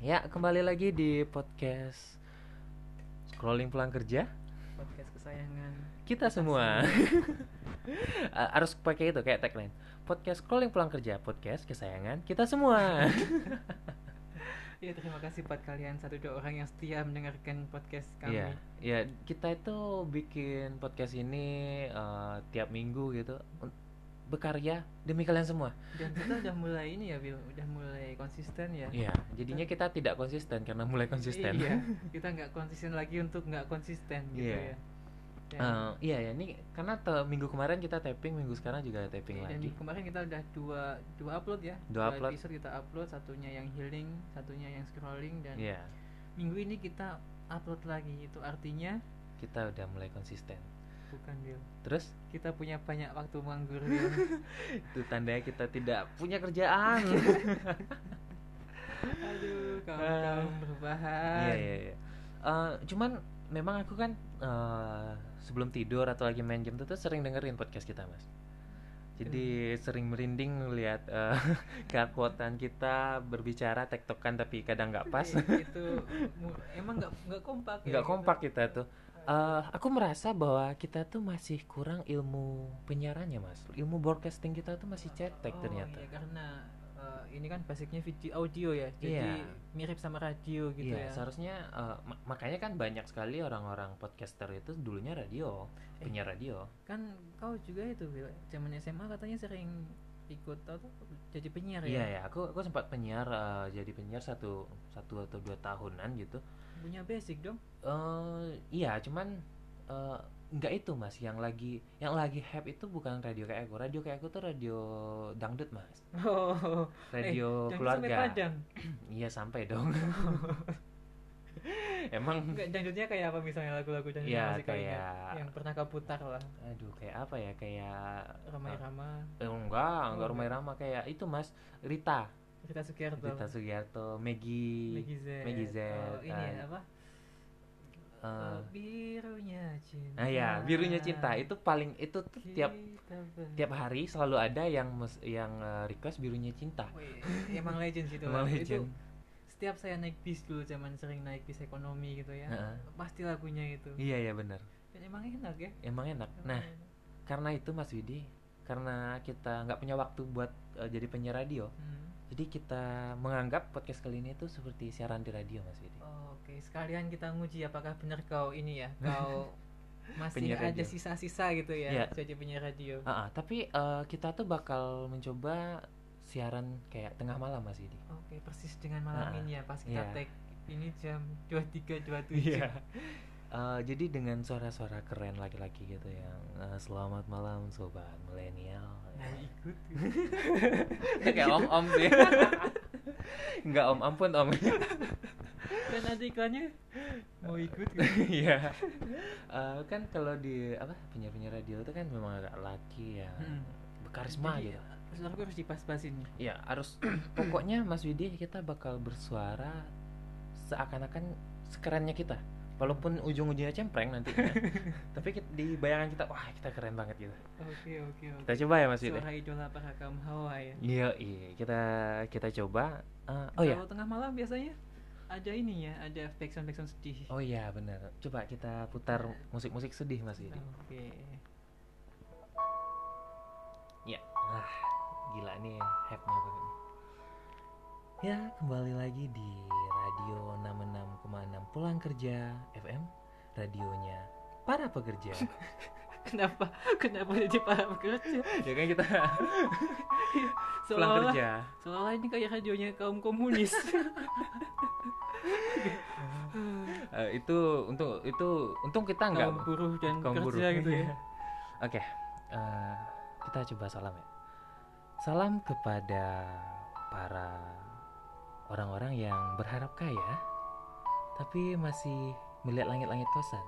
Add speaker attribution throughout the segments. Speaker 1: Ya, kembali lagi di podcast Scrolling Pulang Kerja.
Speaker 2: podcast kesayangan
Speaker 1: Kita semua Eh, harus pakai itu kayak tagline. Podcast Scrolling Pulang Kerja, podcast kesayangan kita semua.
Speaker 2: ya terima kasih buat kalian satu dua orang yang setia mendengarkan podcast kami
Speaker 1: Iya. Ya, kita itu bikin podcast ini eh, tiap minggu gitu. Un- Bekarya demi kalian semua.
Speaker 2: dan kita udah mulai ini ya Bill udah mulai konsisten ya
Speaker 1: Iya, jadinya kita tidak konsisten karena mulai konsisten.
Speaker 2: iya kita nggak konsisten lagi untuk nggak konsisten gitu
Speaker 1: Iya.
Speaker 2: ya dan,
Speaker 1: Eh, iya ya, ini karena te- minggu kemarin kita tapping, minggu sekarang juga tapping
Speaker 2: dan
Speaker 1: lagi.
Speaker 2: kemarin kita udah dua dua upload ya
Speaker 1: Dua upload.
Speaker 2: episode kita upload satunya yang healing satunya yang scrolling dan
Speaker 1: Iya,
Speaker 2: minggu ini kita upload lagi itu artinya
Speaker 1: kita udah mulai konsisten.
Speaker 2: bukan Bill
Speaker 1: Terus
Speaker 2: kita punya banyak waktu menganggur Bill
Speaker 1: itu tandanya kita tidak punya kerjaan. Iya,
Speaker 2: aduh kaum kaum berbahan
Speaker 1: Eh, Iya iya iya. Eh, cuman memang aku kan eh, sebelum tidur atau lagi main game tuh, tuh sering dengerin podcast kita mas. Jadi sering merinding melihat eh, keakuatan kita berbicara tektokan tapi kadang nggak pas,
Speaker 2: Iya, itu mu- emang nggak nggak kompak ya,
Speaker 1: nggak
Speaker 2: gitu.
Speaker 1: kompak kita tuh. Eh, aku merasa bahwa kita tuh masih kurang ilmu penyiarannya mas, ilmu broadcasting kita tuh masih cetek
Speaker 2: Oh,
Speaker 1: ternyata.
Speaker 2: iya, karena eh, ini kan basicnya video audio ya jadi
Speaker 1: Iya.
Speaker 2: mirip sama radio gitu
Speaker 1: Iya,
Speaker 2: ya
Speaker 1: seharusnya eh, ma- makanya kan banyak sekali orang-orang podcaster itu dulunya radio,
Speaker 2: Eh.
Speaker 1: punya radio.
Speaker 2: kan kau juga itu Wil. zaman SMA katanya sering ikut tau tuh jadi penyiar
Speaker 1: Iya
Speaker 2: ya
Speaker 1: ya, aku aku sempat penyiar eh, jadi penyiar satu satu atau dua tahunan gitu.
Speaker 2: punya basic dong
Speaker 1: eh iya, cuman eh, nggak itu mas, yang lagi yang lagi hype itu bukan radio kayak aku. Radio kayak aku tuh radio dangdut mas,
Speaker 2: oh
Speaker 1: radio
Speaker 2: jangan sampai
Speaker 1: keluarga.
Speaker 2: padang
Speaker 1: Iya sampai dong. Emang
Speaker 2: nggak dangdutnya kayak apa misalnya lagu-lagu dangdut yang
Speaker 1: ya
Speaker 2: masih kau ingat? yang
Speaker 1: kayak,
Speaker 2: pernah kau putar lah
Speaker 1: aduh kayak apa ya kayak
Speaker 2: ramai-ramai
Speaker 1: Eh, enggak, enggak
Speaker 2: Oh,
Speaker 1: rumah
Speaker 2: enggak.
Speaker 1: Irama kayak itu Mas Rita,
Speaker 2: kita Sugiarto
Speaker 1: Rita Sugiarto, Maggie,
Speaker 2: Meggy Z
Speaker 1: Meggy Z,
Speaker 2: Oh, ini ya
Speaker 1: eh,
Speaker 2: apa
Speaker 1: eh,
Speaker 2: Oh, Iya. birunya cinta.
Speaker 1: nah ya birunya cinta itu paling itu tuh tiap
Speaker 2: Kita ber-
Speaker 1: tiap hari selalu ada yang mes- yang eh, request birunya cinta.
Speaker 2: Wih, emang legend gitu.
Speaker 1: Emang
Speaker 2: Itu
Speaker 1: legend.
Speaker 2: setiap saya naik bis dulu zaman sering naik bis ekonomi gitu ya.
Speaker 1: Heeh.
Speaker 2: Pasti lagunya itu.
Speaker 1: Iya ya benar.
Speaker 2: Dan emang enak ya.
Speaker 1: Emang enak.
Speaker 2: Emang
Speaker 1: Nah,
Speaker 2: enak.
Speaker 1: karena itu Mas Widi, karena kita nggak punya waktu buat eh, jadi penyiar radio,
Speaker 2: Hmm.
Speaker 1: jadi kita menganggap podcast kali ini itu seperti siaran di radio Mas Widi.
Speaker 2: Oh, Oke, sekalian kita nguji apakah benar kau ini ya, kau masih
Speaker 1: Penyiar
Speaker 2: ada
Speaker 1: radio.
Speaker 2: sisa-sisa gitu
Speaker 1: Iya.
Speaker 2: ya jadi penyiar radio.
Speaker 1: Ah, ah, tapi eh, kita tuh bakal mencoba siaran kayak tengah malam Mas Widi.
Speaker 2: Oke, persis dengan malam
Speaker 1: Ah,
Speaker 2: ini ya pas kita
Speaker 1: iya.
Speaker 2: tag ini jam 23.27.
Speaker 1: Eh, jadi dengan suara-suara keren laki-laki gitu yang eh, selamat malam sobat milenial.
Speaker 2: Mau ikut? iya.
Speaker 1: Ya, kayak om-om sih. Enggak om ampun om.
Speaker 2: Dan ada iklannya mau ikut?
Speaker 1: Iya. Eh, kan kalau di apa penyiar-penyiar radio itu kan memang agak laki ya.
Speaker 2: Hmm.
Speaker 1: Berkarisma
Speaker 2: Jadi,
Speaker 1: gitu.
Speaker 2: Terus aku harus dipas-pasin nih.
Speaker 1: Ya, harus pokoknya Mas Widi kita bakal bersuara seakan-akan sekerennya kita. Walaupun ujung-ujungnya cempreng nantinya. Tapi kit- di bayangan kita, wah kita keren banget gitu.
Speaker 2: Oke oke oke.
Speaker 1: Kita coba ya Mas Widi.
Speaker 2: Suara idola para kaum hawa ya.
Speaker 1: Iya, iya. Kita kita coba. Eh, oh ya.
Speaker 2: Kalau tengah malam biasanya ada ini ya, ada background background sedih.
Speaker 1: Oh iya, benar. Coba kita putar musik-musik sedih Mas Yudi.
Speaker 2: Oke.
Speaker 1: Ya. Ah, gila nih hype-nya banget. nih. Ya, kembali lagi di Radio 66,6 Pulang Kerja FM, radionya para pekerja.
Speaker 2: Kenapa kenapa jadi para pekerja?
Speaker 1: ya kan kita pulang
Speaker 2: Seolah
Speaker 1: kerja.
Speaker 2: seolah ini kayak radionya kaum komunis.
Speaker 1: Eh, itu untuk itu untung kita
Speaker 2: kaum
Speaker 1: nggak
Speaker 2: buruh dan
Speaker 1: Kaum
Speaker 2: pekerja
Speaker 1: buruh.
Speaker 2: gitu ya.
Speaker 1: Oke, eh, kita coba salam ya. Salam kepada para orang-orang yang berharap kaya, tapi masih melihat langit-langit kosan.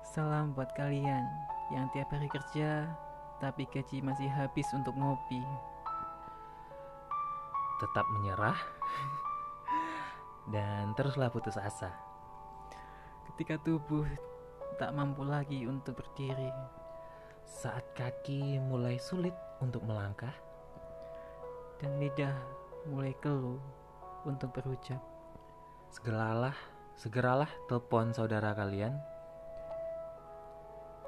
Speaker 2: Salam buat kalian yang tiap hari kerja tapi gaji masih habis untuk ngopi.
Speaker 1: Tetap menyerah dan teruslah putus asa.
Speaker 2: Ketika tubuh tak mampu lagi untuk berdiri.
Speaker 1: Saat kaki mulai sulit untuk melangkah,
Speaker 2: dan lidah mulai keluh. untuk berucap
Speaker 1: segeralah segeralah telepon saudara kalian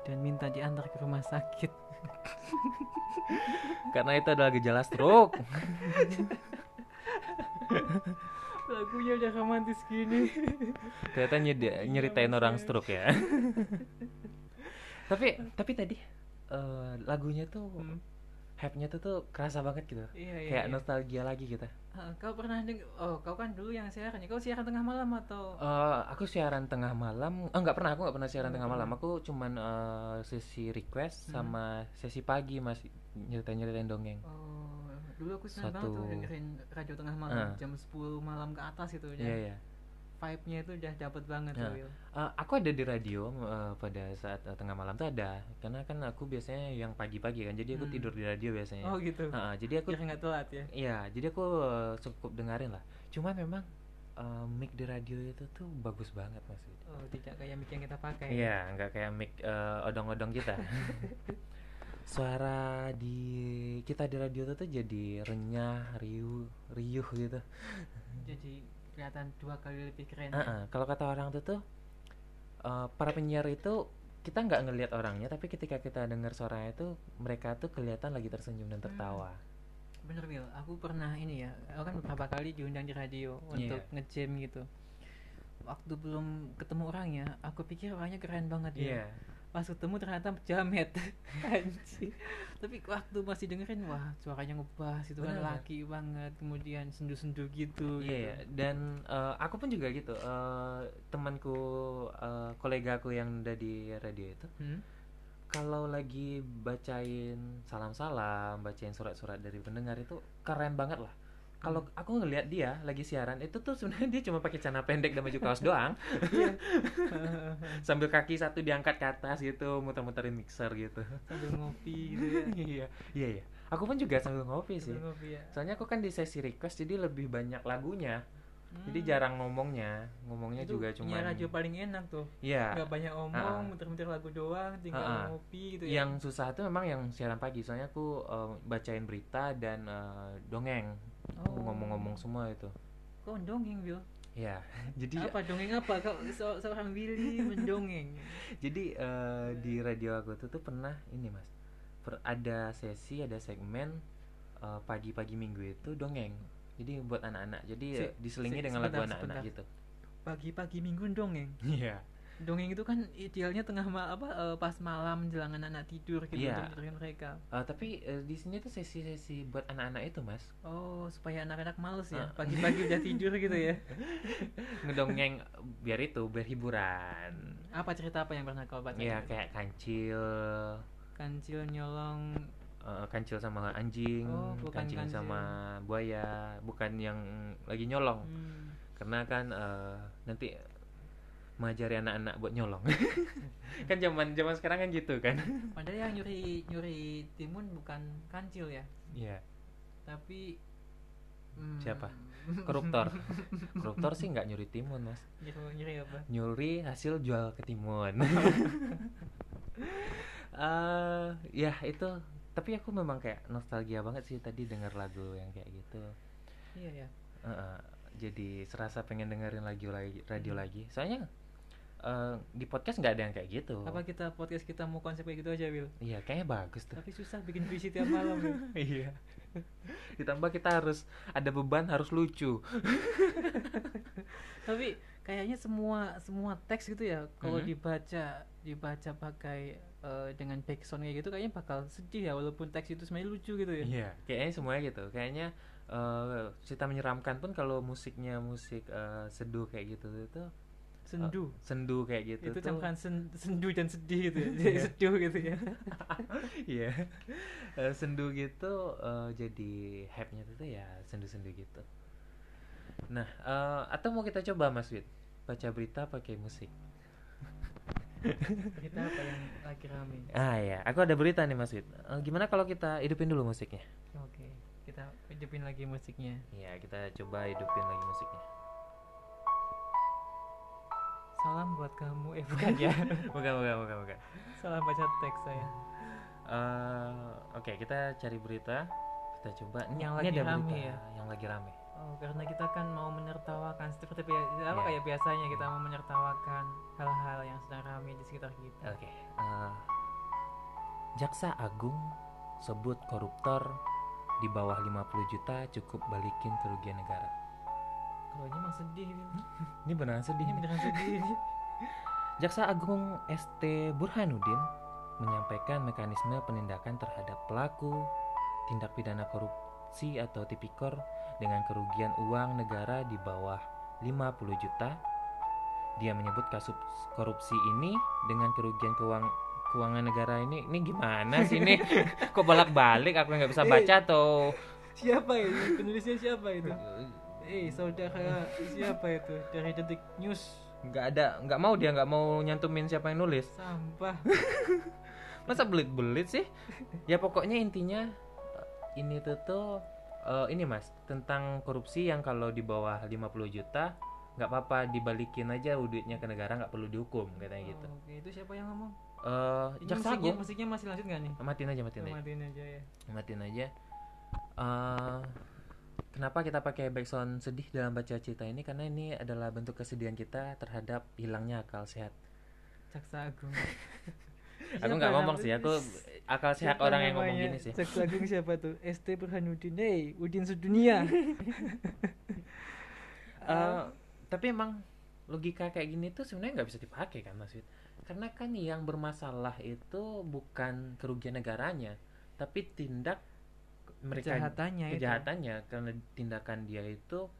Speaker 2: dan minta diantar ke rumah sakit.
Speaker 1: karena itu adalah gejala stroke
Speaker 2: Lagunya udah romantis gini.
Speaker 1: ternyata nyedi- nyeritain
Speaker 2: Mas,
Speaker 1: orang
Speaker 2: ya.
Speaker 1: stroke ya tapi tapi tadi eh, lagunya tuh
Speaker 2: Hmm,
Speaker 1: hype-nya tuh tuh kerasa banget gitu
Speaker 2: iya, iya.
Speaker 1: kayak
Speaker 2: iya.
Speaker 1: nostalgia lagi gitu. kita
Speaker 2: Ah, kau pernah denger, oh kau kan dulu yang siaran, ya. kau siaran tengah malam atau?
Speaker 1: Eh, aku siaran tengah malam ah nggak pernah aku nggak pernah siaran
Speaker 2: Nggak
Speaker 1: tengah malam
Speaker 2: pernah.
Speaker 1: aku cuman eh, sesi request
Speaker 2: Hmm.
Speaker 1: sama sesi pagi mas nyeritain nyeritain dongeng
Speaker 2: Oh, dulu aku senang banget tuh
Speaker 1: Satu-
Speaker 2: dengerin radio tengah malam
Speaker 1: Ah.
Speaker 2: jam 10 malam ke atas itu
Speaker 1: iya
Speaker 2: udah
Speaker 1: iya
Speaker 2: vibe-nya itu udah dapet banget
Speaker 1: Ah.
Speaker 2: tuh, Wil.
Speaker 1: Eh, aku ada di radio eh, pada saat eh, tengah malam tuh ada karena kan aku biasanya yang pagi-pagi kan jadi aku
Speaker 2: Hmm.
Speaker 1: tidur di radio biasanya
Speaker 2: Oh gitu.
Speaker 1: Ah, ah, jadi aku
Speaker 2: Biar nggak telat ya.
Speaker 1: Iya, jadi aku eh, cukup dengerin lah. Cuman memang eh, mic di radio itu tuh bagus banget mas. Wid.
Speaker 2: Oh, tidak kayak mic yang kita pakai.
Speaker 1: Iya, nggak kayak mic eh, odong-odong kita. Suara di kita di radio itu tuh jadi renyah, riuh, riuh gitu.
Speaker 2: Jadi kelihatan dua kali lebih keren.
Speaker 1: Ah, ah. Kalau kata orang tuh tuh eh, para penyiar itu kita nggak ngelihat orangnya, tapi ketika kita dengar suaranya itu mereka tuh kelihatan lagi tersenyum dan tertawa.
Speaker 2: Bener Wil, aku pernah ini ya, aku kan beberapa kali diundang di radio
Speaker 1: Iya.
Speaker 2: untuk nge-jam gitu. Waktu belum ketemu orangnya, aku pikir orangnya keren banget ya.
Speaker 1: Iya.
Speaker 2: Pas ketemu ternyata jamet. Anjir. Tapi waktu masih dengerin, wah suaranya ngebas itu kan
Speaker 1: Bener.
Speaker 2: laki banget, kemudian sendu-sendu gitu.
Speaker 1: Iya, iya.
Speaker 2: gitu.
Speaker 1: dan eh, aku pun juga gitu. eh, temanku, eh, kolegaku yang udah di radio itu,
Speaker 2: Hmm?
Speaker 1: kalau lagi bacain salam-salam, bacain surat-surat dari pendengar itu keren banget lah. Kalau aku ngelihat dia lagi siaran, itu tuh sebenarnya dia cuma pakai celana pendek dan baju kaos doang, sambil kaki satu diangkat ke atas gitu, muter-muterin mixer gitu.
Speaker 2: Sambil ngopi gitu ya.
Speaker 1: Iya, iya, iya. Aku pun juga sambil ngopi Iya sih.
Speaker 2: Sambil ngopi ya.
Speaker 1: Soalnya aku kan di sesi request jadi lebih banyak lagunya, jadi
Speaker 2: Hmm.
Speaker 1: jarang ngomongnya, ngomongnya juga cuma.
Speaker 2: Ya radio paling enak tuh.
Speaker 1: Iya.
Speaker 2: Gak banyak
Speaker 1: Ah.
Speaker 2: omong, muter-muter lagu doang, tinggal
Speaker 1: Ah, ah.
Speaker 2: ngopi gitu ya.
Speaker 1: Yang susah tuh memang yang siaran pagi. Soalnya aku eh, bacain berita dan eh, dongeng. Aku
Speaker 2: Oh.
Speaker 1: ngomong-ngomong semua itu.
Speaker 2: Kau dongeng, Wil.
Speaker 1: Ya. Jadi
Speaker 2: Iya. apa dongeng apa kau se- seorang Willy mendongeng
Speaker 1: jadi eh, di radio aku tuh, tuh pernah ini, Mas. Per- ada sesi, ada segmen eh, pagi-pagi minggu itu dongeng. Jadi buat anak-anak. Jadi
Speaker 2: Se-
Speaker 1: eh, diselingi
Speaker 2: se-
Speaker 1: dengan lagu
Speaker 2: sebentar,
Speaker 1: anak-anak gitu.
Speaker 2: pagi-pagi minggu dongeng
Speaker 1: Iya.
Speaker 2: dongeng itu kan idealnya tengah mal apa eh, pas malam jelang anak-anak tidur gitu
Speaker 1: Iya.
Speaker 2: untuk tidurin mereka
Speaker 1: Eh, tapi eh, di sini tuh sesi-sesi buat anak-anak itu, Mas.
Speaker 2: oh supaya anak-anak males
Speaker 1: Ah.
Speaker 2: ya pagi-pagi udah tidur gitu ya
Speaker 1: Ngedongeng biar itu, biar hiburan.
Speaker 2: apa cerita apa yang pernah kau baca gitu?
Speaker 1: Iya, kayak kancil,
Speaker 2: kancil nyolong
Speaker 1: Eh, kancil sama anjing,
Speaker 2: Oh, bukan
Speaker 1: kancil,
Speaker 2: kancil.
Speaker 1: sama buaya, bukan yang lagi nyolong.
Speaker 2: hmm.
Speaker 1: Karena kan eh, nanti mengajari anak-anak buat nyolong. kan zaman zaman sekarang kan gitu kan.
Speaker 2: padahal yang nyuri nyuri timun bukan kancil ya
Speaker 1: Iya,
Speaker 2: tapi hmm,
Speaker 1: Siapa? koruptor. koruptor sih nggak nyuri timun, Mas.
Speaker 2: nyuri, nyuri apa
Speaker 1: Nyuri hasil jual ke timun. Eh, ya itu tapi aku memang kayak nostalgia banget sih tadi dengar lagu yang kayak gitu.
Speaker 2: iya ya
Speaker 1: Heeh, jadi serasa pengen dengerin lagi lagi radio
Speaker 2: Hmm.
Speaker 1: lagi. Soalnya eh, di podcast nggak ada yang kayak gitu.
Speaker 2: apa kita podcast kita mau konsep kayak gitu aja Wil
Speaker 1: Iya, kayaknya bagus tuh.
Speaker 2: tapi susah bikin puisi tiap malam Wil.
Speaker 1: Iya. Ditambah kita harus ada beban harus lucu.
Speaker 2: tapi kayaknya semua semua teks gitu ya kalau
Speaker 1: Mhm.
Speaker 2: dibaca dibaca pakai eh, dengan backsound kayak gitu kayaknya bakal sedih ya walaupun teks itu sebenarnya lucu gitu ya
Speaker 1: Iya. Kayaknya semuanya gitu. Kayaknya eh cerita menyeramkan pun kalau musiknya musik eh, seduh kayak gitu itu eh,
Speaker 2: sendu
Speaker 1: sendu kayak gitu
Speaker 2: itu
Speaker 1: tuh.
Speaker 2: campuran sen- sendu dan sedih gitu ya jadi
Speaker 1: Iya.
Speaker 2: seduh gitu ya
Speaker 1: Iya. Eh, sendu gitu eh, jadi hype-nya tuh tuh ya sendu-sendu gitu. Nah, eh, atau mau kita coba Mas Wid baca berita pakai musik.
Speaker 2: kita apa yang lagi rame
Speaker 1: Ah ya, aku ada berita nih Mas Wid. Eh, gimana kalau kita hidupin dulu musiknya?
Speaker 2: oke kita hidupin lagi musiknya
Speaker 1: Iya, kita coba hidupin lagi musiknya.
Speaker 2: salam buat kamu eh bukan ya
Speaker 1: Bukan, bukan, bukan, bukan.
Speaker 2: salam baca teks saya
Speaker 1: Eh, Oke, kita cari berita. Kita coba. Ini-
Speaker 2: Yang
Speaker 1: ini
Speaker 2: lagi
Speaker 1: ada
Speaker 2: rame
Speaker 1: berita
Speaker 2: ya?
Speaker 1: Yang lagi rame.
Speaker 2: Oh, karena kita kan mau menertawakan seperti bi-
Speaker 1: Iya.
Speaker 2: apa kayak biasanya kita mau menertawakan hal-hal yang sedang ramai di sekitar kita.
Speaker 1: Oke. eh, Jaksa Agung sebut koruptor di bawah 50 juta cukup balikin kerugian negara.
Speaker 2: Kalau ini emang sedih, Wil.
Speaker 1: Ini beneran sedih.
Speaker 2: ini beneran sedih.
Speaker 1: Jaksa Agung ST Burhanuddin menyampaikan mekanisme penindakan terhadap pelaku tindak pidana korupsi atau tipikor dengan kerugian uang negara di bawah 50 juta. Dia menyebut kasus korupsi ini dengan kerugian keuang- keuangan negara ini ini gimana sih ini kok bolak-balik aku nggak bisa baca atau
Speaker 2: siapa itu? Penulisnya siapa itu? Eh, saudara siapa itu? Dari Detik News.
Speaker 1: nggak ada nggak mau dia nggak mau nyantumin siapa yang nulis
Speaker 2: Sampah.
Speaker 1: masa belit-belit sih ya pokoknya intinya eh, ini tuh tuh eh, ini mas tentang korupsi yang kalau di bawah 50 juta nggak apa-apa dibalikin aja duitnya ke negara nggak perlu dihukum katanya gitu
Speaker 2: Oh, Oke, itu siapa yang ngomong?
Speaker 1: eh
Speaker 2: Ini
Speaker 1: jaksa
Speaker 2: musiknya,
Speaker 1: agung
Speaker 2: musiknya masih lanjut nggak nih?
Speaker 1: matiin aja matiin aja
Speaker 2: Matiin aja ya.
Speaker 1: matiin aja Eh, kenapa kita pakai background sedih dalam baca cerita ini karena ini adalah bentuk kesedihan kita terhadap hilangnya akal sehat
Speaker 2: Jaksa Agung.
Speaker 1: aku nggak ngomong sih aku akal sehat
Speaker 2: Iya, Siapa
Speaker 1: orang yang ngomong
Speaker 2: namanya?
Speaker 1: gini sih
Speaker 2: Jaksa Agung siapa tuh? ST Burhanuddin. Hey, Udin sedunia.
Speaker 1: Eh, tapi emang logika kayak gini tuh sebenarnya nggak bisa dipakai kan Mas Wid? Karena kan yang bermasalah itu bukan kerugian negaranya, tapi tindak mereka
Speaker 2: kejahatannya itu. ya?
Speaker 1: kejahatannya karena tindakan dia itu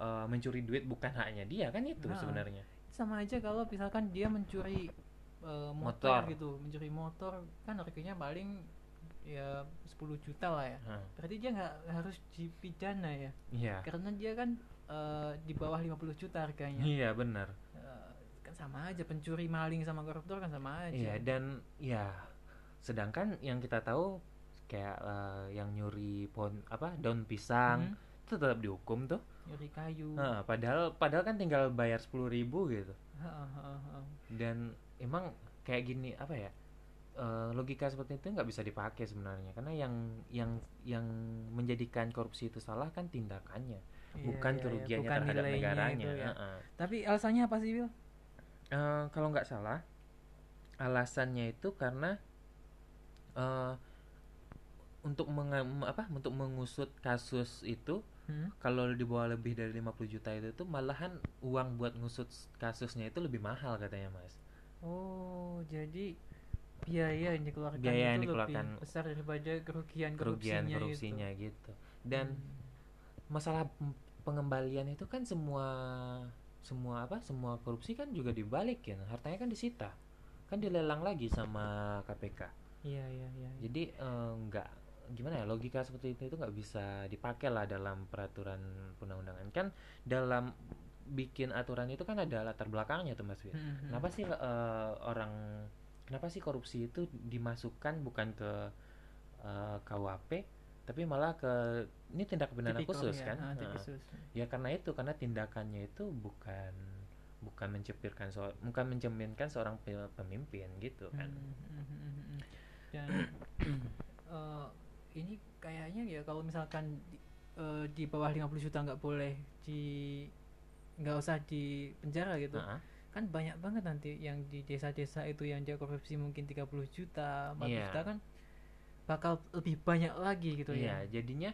Speaker 1: eh, mencuri duit bukan haknya dia kan itu
Speaker 2: Nah.
Speaker 1: sebenarnya.
Speaker 2: Sama aja kalau misalkan dia mencuri eh,
Speaker 1: Motor.
Speaker 2: motor, gitu, mencuri motor kan harganya paling ya 10 juta lah ya.
Speaker 1: Hah,
Speaker 2: Berarti dia nggak harus dipidana ya.
Speaker 1: Iya.
Speaker 2: Karena dia kan eh, di bawah 50 juta harganya.
Speaker 1: Iya benar.
Speaker 2: Eh, kan sama aja pencuri maling sama koruptor kan sama aja.
Speaker 1: Iya dan ya sedangkan yang kita tahu kayak eh, yang nyuri pohon apa daun pisang
Speaker 2: Hmm,
Speaker 1: itu tetap dihukum tuh.
Speaker 2: nyuri kayu.
Speaker 1: Nah, padahal padahal kan tinggal bayar 10.000 gitu.
Speaker 2: Heeh, heeh, heeh.
Speaker 1: Dan emang kayak gini apa ya? eh, logika seperti itu nggak bisa dipakai sebenarnya karena yang yang yang menjadikan korupsi itu salah kan tindakannya
Speaker 2: Iya,
Speaker 1: bukan
Speaker 2: iya, iya.
Speaker 1: kerugiannya
Speaker 2: Bukan
Speaker 1: terhadap
Speaker 2: nilainya
Speaker 1: negaranya
Speaker 2: itu ya.
Speaker 1: Heeh.
Speaker 2: Tapi alasannya apa sih, Wil?
Speaker 1: Eh, kalau nggak salah alasannya itu karena eh, untuk menga- apa untuk mengusut kasus itu
Speaker 2: Hmm?
Speaker 1: kalau di bawah lebih dari 50 juta itu tuh malahan uang buat ngusut kasusnya itu lebih mahal katanya mas
Speaker 2: Oh, jadi biaya yang dikeluarkan
Speaker 1: Biaya yang
Speaker 2: itu
Speaker 1: dikeluarkan
Speaker 2: lebih besar daripada kerugian
Speaker 1: kerugian
Speaker 2: korupsinya, Hmm.
Speaker 1: korupsinya
Speaker 2: gitu.
Speaker 1: gitu dan masalah pem- pengembalian itu kan semua semua apa semua korupsi kan juga dibalikin hartanya kan disita kan dilelang lagi sama KPK
Speaker 2: Hmm, iya iya iya. iya.
Speaker 1: jadi eh, nggak gimana ya logika seperti itu itu nggak bisa dipakai lah dalam peraturan undang-undangan kan dalam bikin aturan itu kan ada latar belakangnya tuh mas Wi.
Speaker 2: Hmm, hmm,
Speaker 1: Kenapa sih eh, orang kenapa sih korupsi itu dimasukkan bukan ke eh, KUHP tapi malah ke ini tindak
Speaker 2: hmm.
Speaker 1: pidana
Speaker 2: Tipikor
Speaker 1: khusus
Speaker 2: ya,
Speaker 1: kan?
Speaker 2: ah,
Speaker 1: Heeh.
Speaker 2: tipiksus.
Speaker 1: Ya karena itu karena tindakannya itu bukan bukan mencepirkan so bukan mencerminkan seorang pe- pemimpin gitu kan.
Speaker 2: Hmm, hmm, hmm, hmm, hmm. Dan eh, ini kayaknya ya kalau misalkan di, eh, di bawah 50 juta nggak boleh di nggak usah di penjara gitu.
Speaker 1: Heeh.
Speaker 2: kan banyak banget nanti yang di desa-desa itu yang dia korupsi mungkin 30 juta, 40
Speaker 1: Iya.
Speaker 2: juta kan bakal lebih banyak lagi gitu
Speaker 1: Iya,
Speaker 2: ya.
Speaker 1: jadinya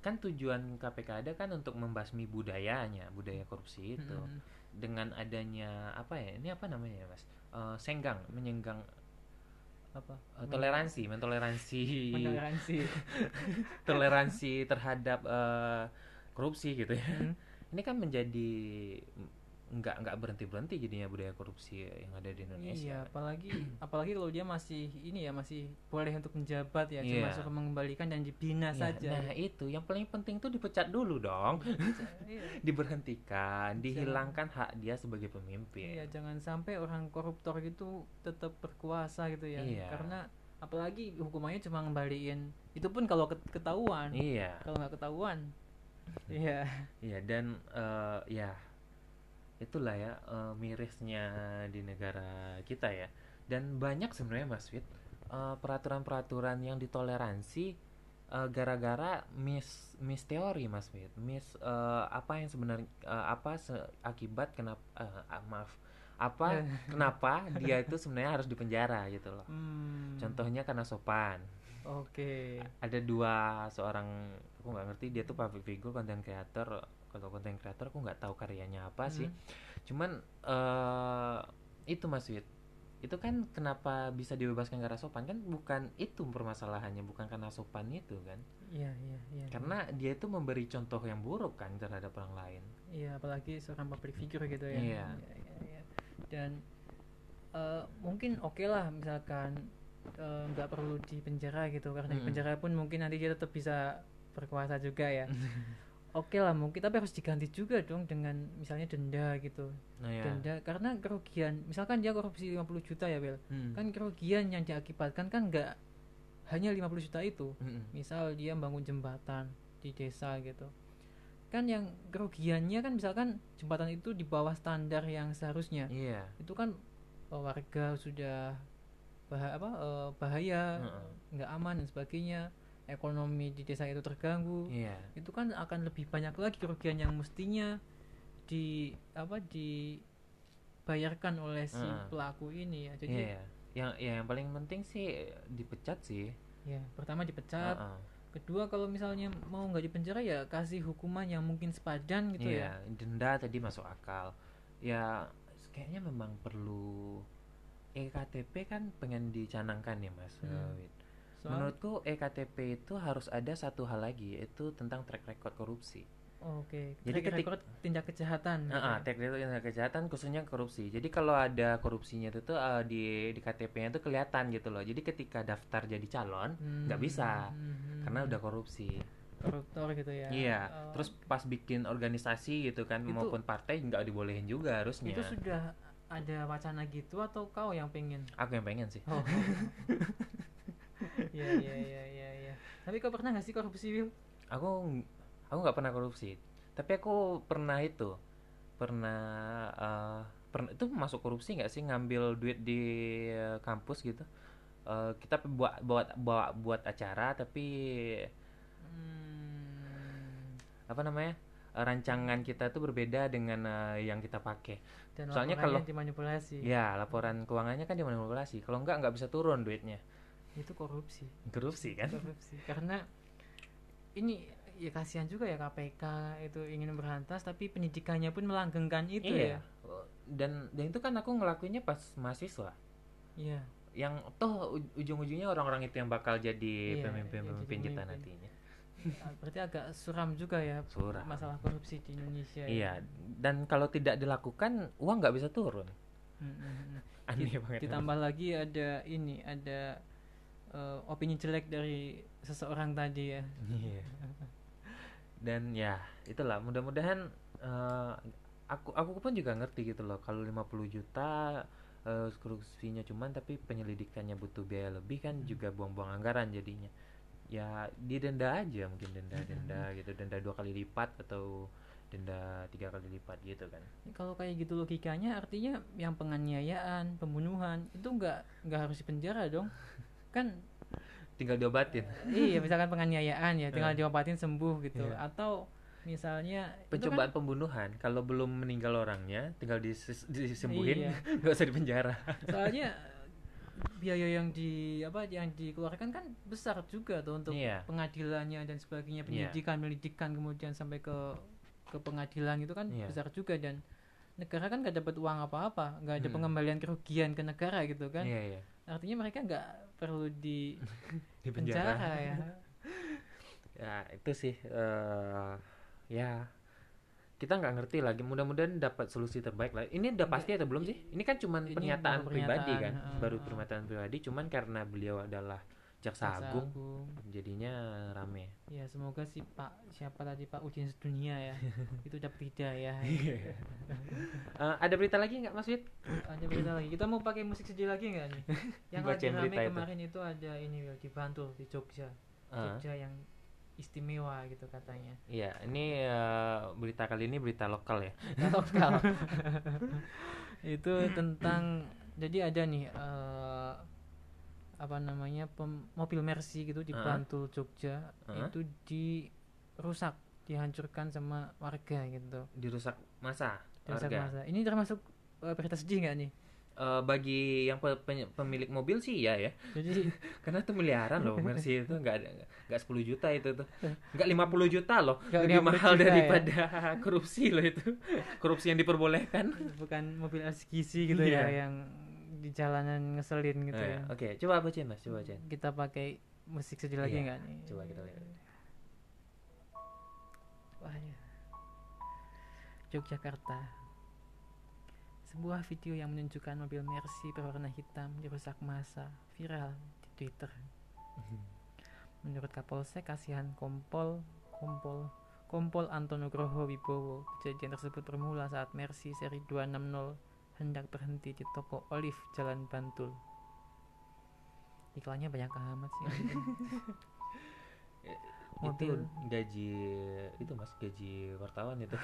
Speaker 1: kan tujuan KPK ada kan untuk membasmi budayanya, budaya korupsi itu.
Speaker 2: Mm-mm.
Speaker 1: dengan adanya apa ya ini apa namanya ya mas Eh, senggang menyenggang apa Eh,
Speaker 2: Men-
Speaker 1: toleransi mentoleransi
Speaker 2: Mentoleransi.
Speaker 1: toleransi terhadap eh, korupsi gitu ya
Speaker 2: Hmm.
Speaker 1: ini kan menjadi nggak nggak berhenti berhenti jadinya budaya korupsi yang ada di Indonesia
Speaker 2: Iya, apalagi apalagi kalau dia masih ini ya masih boleh untuk menjabat ya, cuma
Speaker 1: Iya.
Speaker 2: suruh mengembalikan dan dibina
Speaker 1: Iya,
Speaker 2: saja.
Speaker 1: nah itu yang paling penting tuh dipecat dulu dong
Speaker 2: Iya.
Speaker 1: diberhentikan
Speaker 2: Jangan.
Speaker 1: dihilangkan hak dia sebagai pemimpin
Speaker 2: Iya, jangan sampai orang koruptor gitu tetap berkuasa gitu ya.
Speaker 1: Iya.
Speaker 2: Karena apalagi hukumannya cuma ngembaliin. Itu pun kalau ket- ketahuan.
Speaker 1: iya
Speaker 2: Kalau nggak ketahuan. Iya.
Speaker 1: Iya dan eh, ya itulah ya eh, mirisnya di negara kita ya. Dan banyak sebenarnya Mas Fit eh, peraturan-peraturan yang ditoleransi eh, gara-gara miss miss teori Mas Fit. Miss eh, apa yang sebenarnya eh, apa se- akibat kenapa maaf apa kenapa dia itu sebenarnya harus dipenjara gitu loh.
Speaker 2: Hmm.
Speaker 1: Contohnya karena sopan.
Speaker 2: Oke.
Speaker 1: Ada dua seorang aku nggak ngerti dia tuh public figure, content creator. Kalau content creator aku nggak tahu karyanya
Speaker 2: Hmm.
Speaker 1: apa sih. Cuman eh itu Mas Wid. Itu kan kenapa bisa dibebaskan karena sopan kan bukan itu permasalahannya, bukan karena sopan itu kan.
Speaker 2: Hmm. Iya, iya, iya.
Speaker 1: Karena dia itu memberi contoh yang buruk kan terhadap orang lain.
Speaker 2: Iya, apalagi seorang public figure gitu ya.
Speaker 1: Iya.
Speaker 2: iya, iya. Dan eh, mungkin oke lah misalkan eh, nggak perlu di penjara gitu karena di
Speaker 1: Mm-mm.
Speaker 2: penjara pun mungkin nanti dia tetap bisa berkuasa juga ya. oke lah mungkin tapi harus diganti juga dong dengan misalnya denda gitu.
Speaker 1: Nah ya.
Speaker 2: Denda karena kerugian misalkan dia korupsi 50 juta ya, Bel.
Speaker 1: Mm.
Speaker 2: Kan kerugian yang diakibatkan kan nggak hanya 50 juta itu.
Speaker 1: Mm-mm.
Speaker 2: misal dia bangun jembatan di desa gitu kan yang kerugiannya kan misalkan jembatan itu di bawah standar yang seharusnya
Speaker 1: Iya.
Speaker 2: itu kan eh, warga sudah bah apa eh, bahaya
Speaker 1: Heeh.
Speaker 2: nggak aman dan sebagainya ekonomi di desa itu terganggu
Speaker 1: Iya.
Speaker 2: itu kan akan lebih banyak lagi kerugian yang mestinya di apa dibayarkan oleh si
Speaker 1: Heeh.
Speaker 2: pelaku ini ya jadi
Speaker 1: Iya. iya. Yang ya, yang paling penting sih dipecat sih.
Speaker 2: ya pertama dipecat
Speaker 1: Heeh.
Speaker 2: kedua kalau misalnya mau nggak dipenjara ya kasih hukuman yang mungkin sepadan gitu
Speaker 1: Iya,
Speaker 2: ya
Speaker 1: denda tadi masuk akal. Ya kayaknya memang perlu EKTP kan pengen dicanangkan ya Mas.
Speaker 2: Hmm.
Speaker 1: Eh, Wid.
Speaker 2: Soal-
Speaker 1: Menurutku E EKTP itu harus ada satu hal lagi yaitu tentang track record korupsi.
Speaker 2: oke
Speaker 1: Jadi
Speaker 2: jadi
Speaker 1: ketik-
Speaker 2: record tindak kejahatan gitu
Speaker 1: Heeh,
Speaker 2: ya.
Speaker 1: track record tindak kejahatan khususnya korupsi. Jadi kalau ada korupsinya itu tuh eh, di di KTP-nya tuh kelihatan gitu loh. Jadi ketika daftar jadi calon nggak
Speaker 2: Hmm,
Speaker 1: bisa,
Speaker 2: hmm,
Speaker 1: karena
Speaker 2: hmm.
Speaker 1: udah korupsi.
Speaker 2: koruptor gitu ya
Speaker 1: Iya.
Speaker 2: Oh,
Speaker 1: Terus pas bikin organisasi gitu kan
Speaker 2: Itu-
Speaker 1: maupun partai nggak dibolehin juga harusnya.
Speaker 2: itu sudah ada wacana gitu atau kau yang pengen
Speaker 1: Aku yang pengen sih.
Speaker 2: oh iya iya iya iya iya. tapi kau pernah nggak sih korupsi Wil?
Speaker 1: Aku ng- aku nggak pernah korupsi. Tapi aku pernah itu pernah eh, pern- itu masuk korupsi nggak sih ngambil duit di eh, kampus gitu. Eh, kita buat buat bawa buat acara tapi
Speaker 2: Hmm,
Speaker 1: apa namanya eh, rancangan kita tuh berbeda dengan eh, yang kita pakai.
Speaker 2: dan
Speaker 1: Soalnya
Speaker 2: laporannya dimanipulasi
Speaker 1: Ya laporan keuangannya kan dimanipulasi. Kalau nggak nggak bisa turun duitnya.
Speaker 2: itu korupsi
Speaker 1: Korupsi kan?
Speaker 2: korupsi karena ini ya kasihan juga ya KPK itu ingin berantas tapi pendidikannya pun melanggengkan itu
Speaker 1: iya.
Speaker 2: ya
Speaker 1: Dan dan itu kan aku ngelakuinnya pas mahasiswa.
Speaker 2: iya
Speaker 1: Yang toh u- ujung-ujungnya orang-orang itu yang bakal jadi
Speaker 2: Iya, yang jadi
Speaker 1: pemimpin-pemimpin kita
Speaker 2: pemimpin.
Speaker 1: nantinya.
Speaker 2: Ah, berarti agak suram juga ya
Speaker 1: Suram.
Speaker 2: masalah korupsi di Indonesia ya.
Speaker 1: Iya. Dan kalau tidak dilakukan uang nggak bisa turun.
Speaker 2: Mm, mm, mm.
Speaker 1: Aneh banget.
Speaker 2: ditambah lagi ada ini ada eh, opini jelek dari seseorang tadi ya
Speaker 1: Iya. Dan ya, itulah mudah-mudahan eh, aku aku pun juga ngerti gitu loh kalau 50 juta eh, korupsinya cuman tapi penyelidikannya butuh biaya lebih kan juga buang-buang anggaran jadinya. Ya, didenda aja mungkin denda-denda gitu, denda dua kali lipat atau denda tiga kali lipat gitu kan.
Speaker 2: kalau kayak gitu logikanya artinya yang penganiayaan pembunuhan itu nggak nggak harus dipenjara dong kan
Speaker 1: Tinggal diobatin.
Speaker 2: iya misalkan penganiayaan ya tinggal
Speaker 1: Eh.
Speaker 2: diobatin sembuh gitu
Speaker 1: Iya.
Speaker 2: atau misalnya itu
Speaker 1: Pencobaan
Speaker 2: kan-
Speaker 1: pembunuhan kalau belum meninggal orangnya tinggal disis- disembuhin,
Speaker 2: Iya.
Speaker 1: nggak usah dipenjara.
Speaker 2: soalnya biaya yang di apa yang dikeluarkan kan besar juga tuh untuk
Speaker 1: Iya.
Speaker 2: pengadilannya dan sebagainya
Speaker 1: Iya.
Speaker 2: penyidikan penyidikan kemudian sampai ke ke pengadilan itu kan
Speaker 1: Iya.
Speaker 2: besar juga dan negara kan nggak dapat uang apa-apa nggak ada
Speaker 1: Mm.
Speaker 2: pengembalian kerugian ke negara gitu kan
Speaker 1: Iya, iya.
Speaker 2: artinya mereka nggak perlu di
Speaker 1: Dipenjara.
Speaker 2: penjara ya
Speaker 1: ya itu sih eh ya kita nggak ngerti lagi mudah-mudahan dapat solusi terbaik lah ini udah pasti atau belum sih ini kan cuman
Speaker 2: Ini
Speaker 1: pernyataan
Speaker 2: baru
Speaker 1: pribadi kan
Speaker 2: pernyataan, heeh,
Speaker 1: baru
Speaker 2: heeh.
Speaker 1: pernyataan pribadi cuman karena beliau adalah jaksa
Speaker 2: Jaksa
Speaker 1: agung
Speaker 2: Agung.
Speaker 1: jadinya rame
Speaker 2: Ya semoga si Pak siapa tadi Pak Udin sedunia ya itu ya. dapat hidayah.
Speaker 1: Eh, ada berita lagi nggak Mas Wid?
Speaker 2: ada berita lagi. Kita mau pakai musik sedih lagi nggak nih? Yang lagi
Speaker 1: Bacain
Speaker 2: rame
Speaker 1: berita itu.
Speaker 2: kemarin itu. ada ini Wil, di Bantul di Jogja.
Speaker 1: Eh,
Speaker 2: Jogja yang istimewa gitu katanya.
Speaker 1: Iya ini eh, berita kali ini berita lokal ya
Speaker 2: Lokal. itu tentang jadi ada nih eh, apa namanya pem- mobil Mercy gitu di
Speaker 1: Ah.
Speaker 2: Bantul Jogja
Speaker 1: Ah.
Speaker 2: itu dirusak dihancurkan sama warga gitu
Speaker 1: dirusak masa
Speaker 2: Dirusak
Speaker 1: warga.
Speaker 2: masa. ini termasuk eh, berita sedih nggak nih
Speaker 1: Eh, bagi yang pe- peny- pemilik mobil sih ya ya
Speaker 2: jadi
Speaker 1: karena itu miliaran loh Mercy itu nggak ada nggak 10 juta itu tuh nggak 50 juta loh
Speaker 2: Nggak
Speaker 1: lebih
Speaker 2: 50
Speaker 1: mahal
Speaker 2: juta ya.
Speaker 1: daripada korupsi loh itu korupsi yang diperbolehkan
Speaker 2: bukan mobil eksekusi gitu
Speaker 1: Iya.
Speaker 2: ya yang di jalanan ngeselin
Speaker 1: Oh,
Speaker 2: gitu ya
Speaker 1: ya. oke coba bacain mas coba bacain
Speaker 2: kita pakai musik sedih lagi
Speaker 1: Iya,
Speaker 2: nggak nih
Speaker 1: coba kita lihat.
Speaker 2: Wah, ya. Yogyakarta sebuah video yang menunjukkan mobil Mercy berwarna hitam dirusak massa viral di Twitter menurut Kapolsek Kasihan Kompol Kompol Kompol Antonugroho Wibowo kejadian tersebut bermula saat Mercy seri 260 hendak berhenti di toko Olive Jalan Bantul iklannya banyak amat sih
Speaker 1: itu
Speaker 2: Mobil.
Speaker 1: gaji itu mas gaji wartawan itu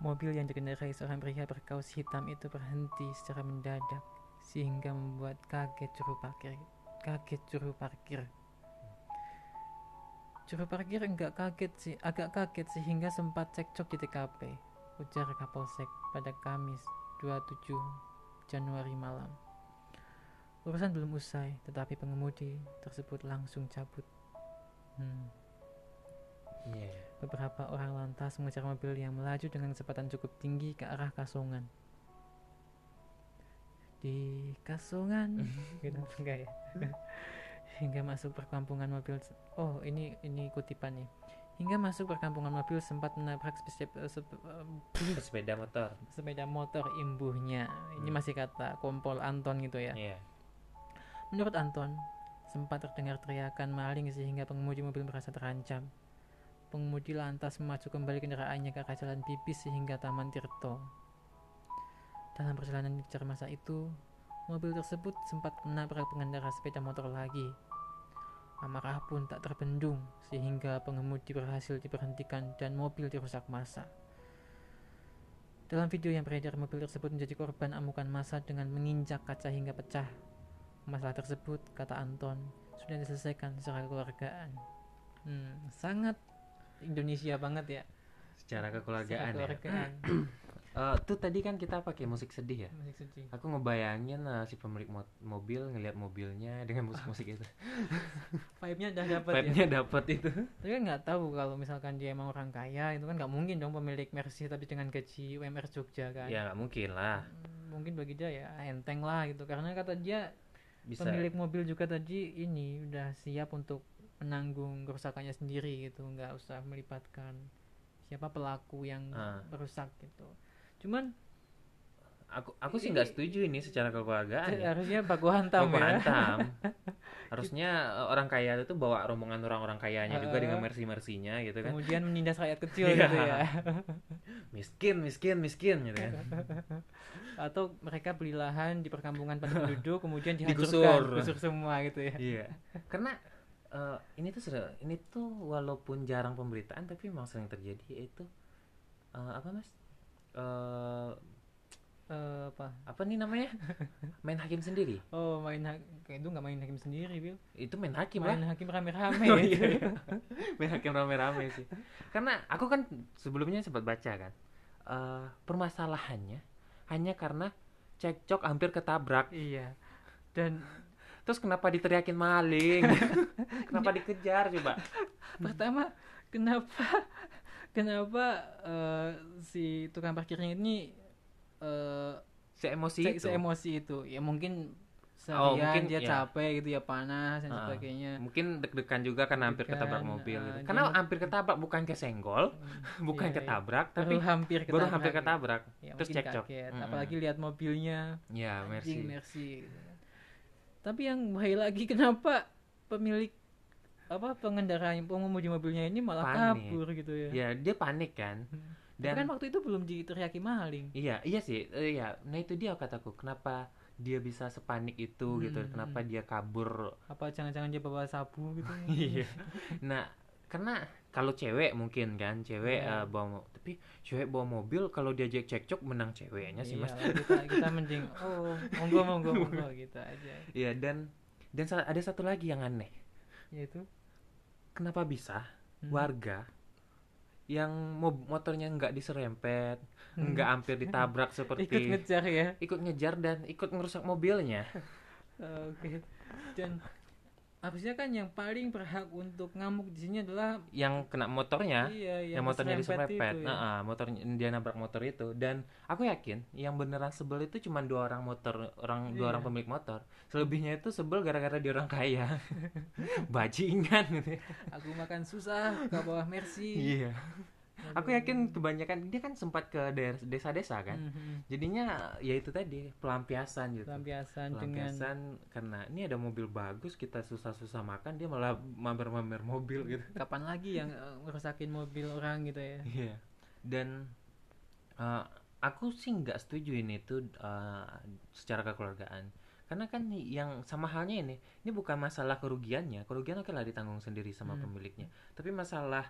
Speaker 2: Mobil yang dikendarai seorang pria berkaos hitam itu berhenti secara mendadak sehingga membuat kaget juru parkir. Kaget juru parkir. Juru parkir enggak kaget sih, agak kaget sehingga sempat cekcok di TKP. Ujar Kapolsek pada Kamis 27 Januari malam. Urusan belum usai, tetapi pengemudi tersebut langsung cabut. Hmm.
Speaker 1: Iya.
Speaker 2: Beberapa orang lantas mengejar mobil yang melaju dengan kecepatan cukup tinggi ke arah Kasongan. Di Kasongan, gitu enggak ya? Hingga masuk perkampungan mobil. Oh, ini ini kutipan nih. Hingga masuk perkampungan mobil sempat menabrak sepeda,
Speaker 1: sepeda motor
Speaker 2: sepeda motor imbuhnya. Ini
Speaker 1: Hmm.
Speaker 2: masih kata kompol Anton gitu ya.
Speaker 1: Iya.
Speaker 2: Menurut Anton, sempat terdengar teriakan maling sehingga pengemudi mobil merasa terancam. Pengemudi lantas memacu kembali kendaraannya ke arah jalan pipis sehingga Taman Tirto. Dalam perjalanan kejar masa itu, mobil tersebut sempat menabrak pengendara sepeda motor lagi. Amarah pun tak terbendung sehingga pengemudi berhasil diberhentikan dan mobil dirusak masa. Dalam video yang beredar, mobil tersebut menjadi korban amukan masa dengan menginjak kaca hingga pecah. Masalah tersebut, kata Anton, sudah diselesaikan secara kekeluargaan. Hmm, sangat Indonesia banget ya.
Speaker 1: secara kekeluargaan
Speaker 2: secara
Speaker 1: ya
Speaker 2: kekeluargaan.
Speaker 1: Eh, tuh tadi kan kita pakai musik sedih ya
Speaker 2: Musik sedih.
Speaker 1: aku ngebayangin eh, si pemilik mo- mobil ngelihat mobilnya dengan musik musik itu
Speaker 2: Vibe-nya udah Ah, dapet ya.
Speaker 1: vibe-nya dapet itu
Speaker 2: Tapi kan nggak tahu kalau misalkan dia emang orang kaya, itu kan nggak mungkin dong pemilik Mercy tapi dengan gaji UMR Jogja kan.
Speaker 1: ya nggak mungkin lah
Speaker 2: Hmm, Mungkin bagi dia ya enteng lah gitu. Karena kata dia
Speaker 1: bisa
Speaker 2: pemilik mobil juga tadi ini udah siap untuk menanggung kerusakannya sendiri gitu nggak usah melibatkan siapa pelaku yang
Speaker 1: Ah.
Speaker 2: merusak gitu cuman
Speaker 1: aku aku sih nggak setuju ini secara kekeluargaan ya.
Speaker 2: harusnya baku hantam
Speaker 1: Baku
Speaker 2: ya
Speaker 1: hantam. harusnya eh, orang kaya itu bawa rombongan orang-orang kayanya juga dengan
Speaker 2: Heeh.
Speaker 1: mercy mersinya gitu kan
Speaker 2: kemudian menindas rakyat kecil
Speaker 1: Iya.
Speaker 2: gitu ya
Speaker 1: miskin miskin miskin gitu kan
Speaker 2: atau mereka beli lahan di perkampungan padat penduduk kemudian
Speaker 1: Digusur.
Speaker 2: dihancurkan digusur semua gitu ya
Speaker 1: iya karena eh, ini tuh sering- ini tuh walaupun jarang pemberitaan tapi memang sering terjadi yaitu eh, apa mas Eh,
Speaker 2: Eh, apa
Speaker 1: apa nih namanya main hakim sendiri
Speaker 2: oh main ha- kayak itu nggak main hakim sendiri bil
Speaker 1: itu main hakim lah
Speaker 2: main hakim rame-rame
Speaker 1: Oh,
Speaker 2: gitu.
Speaker 1: iya, iya. main hakim rame-rame sih karena aku kan sebelumnya sempat baca kan eh, permasalahannya hanya karena cekcok hampir ketabrak
Speaker 2: iya dan
Speaker 1: terus kenapa diteriakin maling kenapa dikejar coba
Speaker 2: pertama kenapa kenapa eh, si tukang parkirnya ini eh
Speaker 1: se emosi
Speaker 2: se-
Speaker 1: itu
Speaker 2: seemosi itu ya mungkin seharian
Speaker 1: Oh, mungkin, ya.
Speaker 2: dia capek gitu ya panas dan
Speaker 1: Ah.
Speaker 2: sebagainya
Speaker 1: mungkin deg-degan juga karena hampir
Speaker 2: Deg-degan,
Speaker 1: ketabrak mobil gitu
Speaker 2: eh,
Speaker 1: karena
Speaker 2: dia-
Speaker 1: hampir ketabrak bukan kesenggol bukan
Speaker 2: Iya, iya.
Speaker 1: ketabrak tapi
Speaker 2: baru hampir ketabrak,
Speaker 1: baru hampir ketabrak
Speaker 2: ya,
Speaker 1: terus
Speaker 2: mungkin
Speaker 1: cekcok.
Speaker 2: kaget.
Speaker 1: Mm-mm.
Speaker 2: apalagi lihat mobilnya
Speaker 1: ya
Speaker 2: anjing
Speaker 1: mercy
Speaker 2: mercy gitu kan. tapi yang bahaya lagi kenapa pemilik apa pengendara yang pengemudi mobilnya ini malah
Speaker 1: Panik.
Speaker 2: kabur gitu ya,
Speaker 1: ya dia panik kan
Speaker 2: Hmm. Tapi
Speaker 1: dan
Speaker 2: kan waktu itu belum diteriaki maling
Speaker 1: Iya, iya sih. Eh, iya, nah itu dia kataku. Kenapa dia bisa sepanik itu gitu?
Speaker 2: Hmm,
Speaker 1: Kenapa dia kabur?
Speaker 2: apa jangan-jangan dia bawa sabu gitu
Speaker 1: Iya. nah, karena kalau cewek mungkin kan cewek eh,
Speaker 2: Iya.
Speaker 1: bawa mo- tapi cewek bawa mobil kalau diajak cekcok menang ceweknya sih mas
Speaker 2: Iyalah, Iya, kita kita mending oh monggo monggo monggo gitu aja
Speaker 1: Iya dan dan sa- ada satu lagi yang aneh
Speaker 2: yaitu
Speaker 1: kenapa bisa
Speaker 2: Ya hmm,
Speaker 1: warga yang mob- motornya nggak diserempet
Speaker 2: hmm,
Speaker 1: nggak hampir ditabrak seperti
Speaker 2: ikut ngejar ya
Speaker 1: ikut ngejar dan ikut ngerusak mobilnya
Speaker 2: Oh, oke dan harusnya kan yang paling berhak untuk ngamuk di sini adalah
Speaker 1: yang kena motornya
Speaker 2: iya
Speaker 1: yang motornya
Speaker 2: diserempet itu
Speaker 1: diserempet
Speaker 2: ya.
Speaker 1: Nah, ah, motornya dia nabrak motor itu dan aku yakin yang beneran sebel itu cuma dua orang motor orang dua
Speaker 2: Iya.
Speaker 1: orang pemilik motor selebihnya itu sebel gara-gara dia orang kaya bajingan gitu ya.
Speaker 2: aku makan susah ke bawah mercy
Speaker 1: iya aku yakin kebanyakan dia kan sempat ke daer- desa-desa kan
Speaker 2: Hmm.
Speaker 1: jadinya ya itu tadi pelampiasan gitu
Speaker 2: lampiasan dengan
Speaker 1: pelampiasan karena ini ada mobil bagus kita susah-susah makan dia malah mamer-mamer mobil gitu
Speaker 2: kapan lagi yang eh, ngerusakin mobil orang gitu ya
Speaker 1: Iya. Dan eh, aku sih nggak setuju ini tuh eh, secara kekeluargaan. Karena kan yang sama halnya ini, ini bukan masalah kerugiannya. Kerugian oke lah ditanggung sendiri sama
Speaker 2: Hmm.
Speaker 1: pemiliknya. Tapi masalah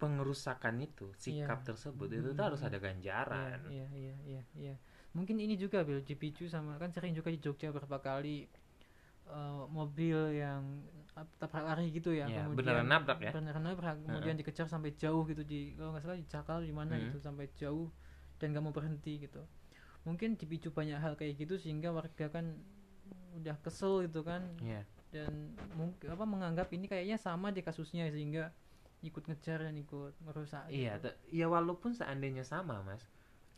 Speaker 1: pengerusakan itu, sikap tersebut itu tuh
Speaker 2: Hmm.
Speaker 1: harus ada
Speaker 2: Iya,
Speaker 1: ganjaran.
Speaker 2: iya, iya, iya, iya. Mungkin ini juga Bill dipicu sama kan sering juga di Jogja beberapa kali eh, mobil yang ap- tabrak lari gitu ya.
Speaker 1: Iya, beneran nabrak ya?
Speaker 2: Beneran nabrak, kemudian dikejar sampai jauh gitu di kalau nggak salah di Cakal di mana
Speaker 1: Hmm.
Speaker 2: gitu sampai jauh dan nggak mau berhenti gitu. Mungkin dipicu banyak hal kayak gitu sehingga warga kan udah kesel gitu kan
Speaker 1: Iya.
Speaker 2: dan mungkin apa menganggap ini kayaknya sama di kasusnya sehingga ikut ngejar dan ikut merusak.
Speaker 1: Iya,
Speaker 2: gitu.
Speaker 1: te- ya walaupun seandainya sama, Mas.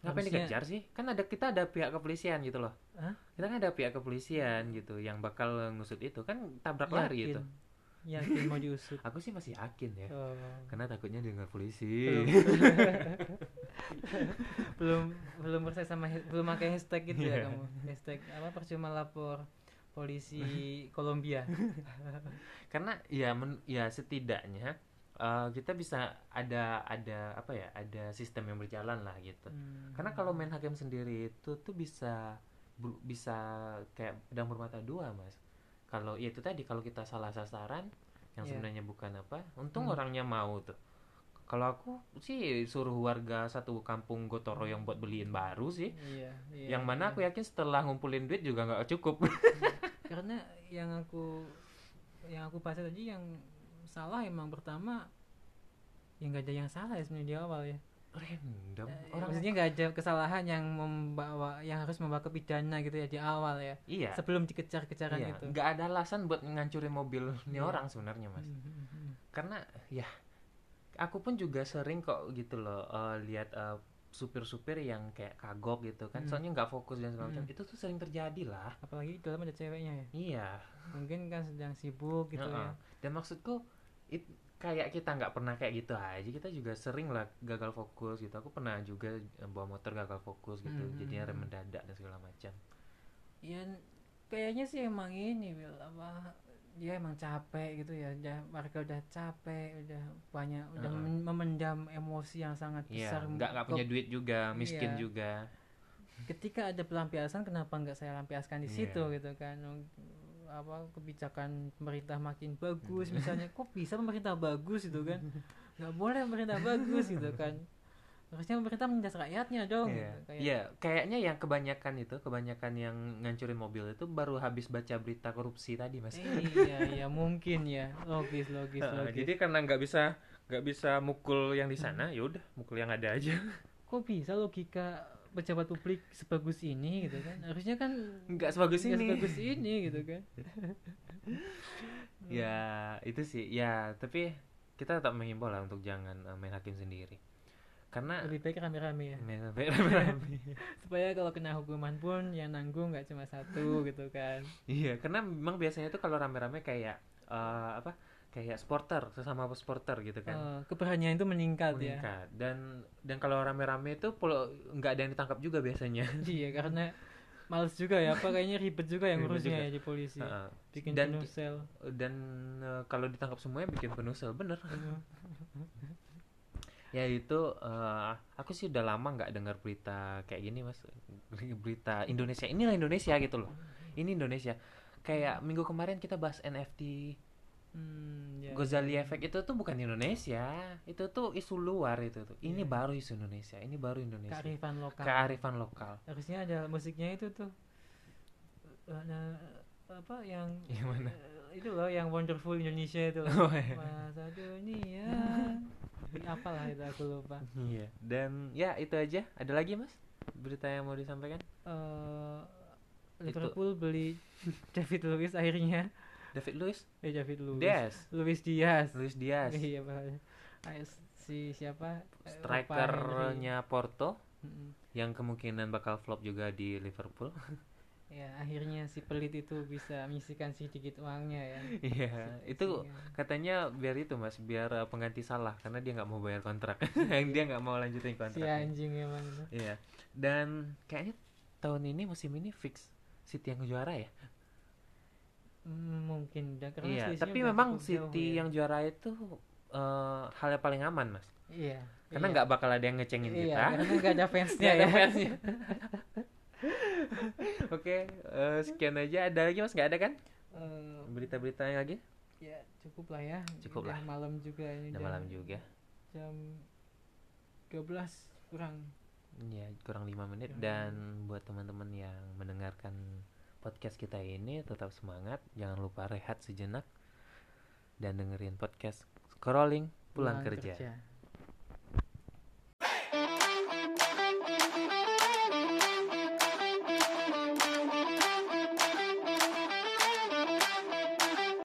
Speaker 1: Ngapain
Speaker 2: Harusnya-
Speaker 1: dikejar sih? Kan ada kita ada pihak kepolisian gitu loh.
Speaker 2: Hah?
Speaker 1: Kita kan ada pihak kepolisian gitu yang bakal ngusut itu kan tabrak lari
Speaker 2: Yakin.
Speaker 1: itu.
Speaker 2: Yakin mau diusut.
Speaker 1: Aku sih masih yakin ya.
Speaker 2: Oh.
Speaker 1: Karena takutnya dengar polisi.
Speaker 2: belum belum belum percaya sama he- belum pakai hashtag gitu
Speaker 1: Iya.
Speaker 2: ya kamu hashtag apa percuma lapor polisi Kolombia
Speaker 1: Karena ya men- ya setidaknya eh, kita bisa ada ada apa ya? Ada sistem yang berjalan lah gitu.
Speaker 2: Hmm.
Speaker 1: Karena kalau main hakim sendiri itu tuh bisa bu- bisa kayak pedang bermata dua, Mas. Kalau ya itu tadi kalau kita salah sasaran yang
Speaker 2: Iya.
Speaker 1: sebenarnya bukan apa, untung
Speaker 2: Hmm.
Speaker 1: orangnya mau tuh. Kalau aku sih suruh warga satu kampung gotoro yang buat beliin baru sih.
Speaker 2: iya, iya,
Speaker 1: yang mana aku ya-
Speaker 2: iya.
Speaker 1: yakin setelah ngumpulin duit juga nggak cukup.
Speaker 2: karena yang aku yang aku bahas tadi yang salah emang pertama yang nggak ada yang salah ya sebenarnya di awal ya
Speaker 1: random
Speaker 2: Eh,
Speaker 1: orang
Speaker 2: maksudnya nggak ada kesalahan yang membawa yang harus membawa ke pidana gitu ya di awal ya
Speaker 1: iya
Speaker 2: sebelum dikejar-kejaran
Speaker 1: iya
Speaker 2: itu
Speaker 1: nggak ada alasan buat ngancurin mobil ini
Speaker 2: gitu. Iya.
Speaker 1: orang sebenarnya mas
Speaker 2: hmm,
Speaker 1: karena ya aku pun juga sering kok gitu loh eh, lihat eh, supir-supir yang kayak kagok gitu kan
Speaker 2: Hmm.
Speaker 1: soalnya nggak fokus dan segala macam
Speaker 2: Hmm.
Speaker 1: itu tuh sering terjadi lah
Speaker 2: apalagi di dalam ada ceweknya ya
Speaker 1: iya
Speaker 2: mungkin kan sedang sibuk gitu
Speaker 1: Heeh.
Speaker 2: ya
Speaker 1: dan maksudku it- kayak kita nggak pernah kayak gitu aja kita juga sering lah gagal fokus gitu aku pernah juga eh, bawa motor gagal fokus gitu
Speaker 2: Hmm.
Speaker 1: jadinya rem mendadak dan segala macam
Speaker 2: ya kayaknya sih emang ini Wil, apa dia emang capek gitu ya udah warga udah capek udah banyak udah
Speaker 1: Heeh.
Speaker 2: men- memendam emosi yang sangat
Speaker 1: iya
Speaker 2: besar
Speaker 1: nggak nggak punya
Speaker 2: Ke-
Speaker 1: duit juga miskin
Speaker 2: Iya.
Speaker 1: juga
Speaker 2: ketika ada pelampiasan kenapa nggak saya lampiaskan di
Speaker 1: Iya.
Speaker 2: situ gitu kan apa kebijakan pemerintah makin bagus misalnya kok bisa pemerintah bagus gitu kan nggak boleh pemerintah bagus gitu kan harusnya pemerintah menindas rakyatnya dong
Speaker 1: Iya,
Speaker 2: gitu, kayak-
Speaker 1: Iya, kayaknya yang kebanyakan itu, kebanyakan yang ngancurin mobil itu baru habis baca berita korupsi tadi, Mas.
Speaker 2: iya iya mungkin ya logis logis
Speaker 1: Nah,
Speaker 2: logis
Speaker 1: jadi karena nggak bisa nggak bisa mukul yang di sana, ya udah mukul yang ada aja.
Speaker 2: kok bisa logika pejabat publik sebagus ini gitu kan harusnya kan
Speaker 1: Nggak sebagus
Speaker 2: nggak
Speaker 1: ini.
Speaker 2: sebagus ini gitu kan
Speaker 1: Ya, itu sih. Ya, tapi kita tetap mengimbau lah untuk jangan eh, main hakim sendiri. Karena
Speaker 2: lebih baik rame-rame ya
Speaker 1: main rame-rame.
Speaker 2: supaya kalau kena hukuman pun yang nanggung nggak cuma satu gitu kan
Speaker 1: Iya, karena memang biasanya tuh kalau rame-rame kayak eh, apa? Kayak sporter sesama sporter gitu kan.
Speaker 2: Eh, keberanian itu meningkat, ya.
Speaker 1: meningkat dan dan kalau rame-rame itu pulau nggak ada yang ditangkap juga biasanya
Speaker 2: ya iya karena males juga ya apa kayaknya ribet juga yang
Speaker 1: Ribet
Speaker 2: ngurusnya
Speaker 1: juga.
Speaker 2: ya di polisi
Speaker 1: Heeh.
Speaker 2: bikin
Speaker 1: dan
Speaker 2: penuh sel
Speaker 1: dan eh, kalau ditangkap semuanya bikin penuh sel bener ya itu eh, aku sih udah lama nggak dengar berita kayak gini mas berita Indonesia inilah Indonesia gitu loh ini Indonesia kayak minggu kemarin kita bahas NFT
Speaker 2: Hmm, ya,
Speaker 1: Gozali Effect itu tuh bukan Indonesia, itu tuh isu luar itu tuh. Ini
Speaker 2: Iya.
Speaker 1: baru isu Indonesia, ini baru Indonesia.
Speaker 2: kearifan lokal.
Speaker 1: Kearifan lokal.
Speaker 2: Harusnya ada musiknya itu tuh. Eh, nah, apa yang
Speaker 1: Gimana?
Speaker 2: eh, itu loh yang wonderful Indonesia itu.
Speaker 1: Iya.
Speaker 2: loh.
Speaker 1: Oh, iya.
Speaker 2: Masa dunia. Ini apalah itu aku lupa.
Speaker 1: Iya. Dan ya itu aja. Ada lagi mas berita yang mau disampaikan?
Speaker 2: Eh,
Speaker 1: Itu.
Speaker 2: Liverpool beli David Luiz akhirnya.
Speaker 1: David Luiz,
Speaker 2: Eh David Luiz.
Speaker 1: Diaz,
Speaker 2: Luis Diaz.
Speaker 1: Luis Diaz,
Speaker 2: Iya, bahaya. Ayo, si siapa? Eh, Opa Henry.
Speaker 1: strikernya Porto
Speaker 2: Mm-mm.
Speaker 1: yang kemungkinan bakal flop juga di Liverpool.
Speaker 2: Ya, akhirnya si pelit itu bisa menyisikan sedikit uangnya ya.
Speaker 1: Iya. itu
Speaker 2: Iya.
Speaker 1: katanya biar itu mas, biar eh, pengganti salah karena dia nggak mau bayar kontrak,
Speaker 2: Iya.
Speaker 1: yang dia nggak mau lanjutin
Speaker 2: si
Speaker 1: kontrak.
Speaker 2: anjing emang itu.
Speaker 1: Iya. Dan kayaknya tahun ini musim ini fix City yang juara ya.
Speaker 2: Mm, mungkin udah karena
Speaker 1: Iya.
Speaker 2: selisihnya
Speaker 1: Tapi
Speaker 2: udah
Speaker 1: memang
Speaker 2: cukup jauh
Speaker 1: City
Speaker 2: ya.
Speaker 1: yang juara itu eh, hal yang paling aman mas.
Speaker 2: iya.
Speaker 1: Karena
Speaker 2: iya.
Speaker 1: nggak bakal ada yang ngecengin
Speaker 2: iya,
Speaker 1: kita.
Speaker 2: karena nggak ada fansnya
Speaker 1: Nggak ada
Speaker 2: ya.
Speaker 1: fansnya. Oke, eh, sekian aja. Ada lagi mas? Nggak ada kan?
Speaker 2: Eh,
Speaker 1: Berita-berita yang lagi?
Speaker 2: ya cukup lah ya.
Speaker 1: Cukup
Speaker 2: Udah
Speaker 1: lah.
Speaker 2: Malam juga ini.
Speaker 1: Udah
Speaker 2: jam-
Speaker 1: malam juga.
Speaker 2: Jam 12 kurang.
Speaker 1: Ya, kurang 5 menit.
Speaker 2: Kurang
Speaker 1: Dan buat teman-teman yang mendengarkan podcast kita ini, tetap semangat. Jangan lupa rehat sejenak. Dan dengerin podcast Scrolling Pulang, kerja.
Speaker 2: kerja.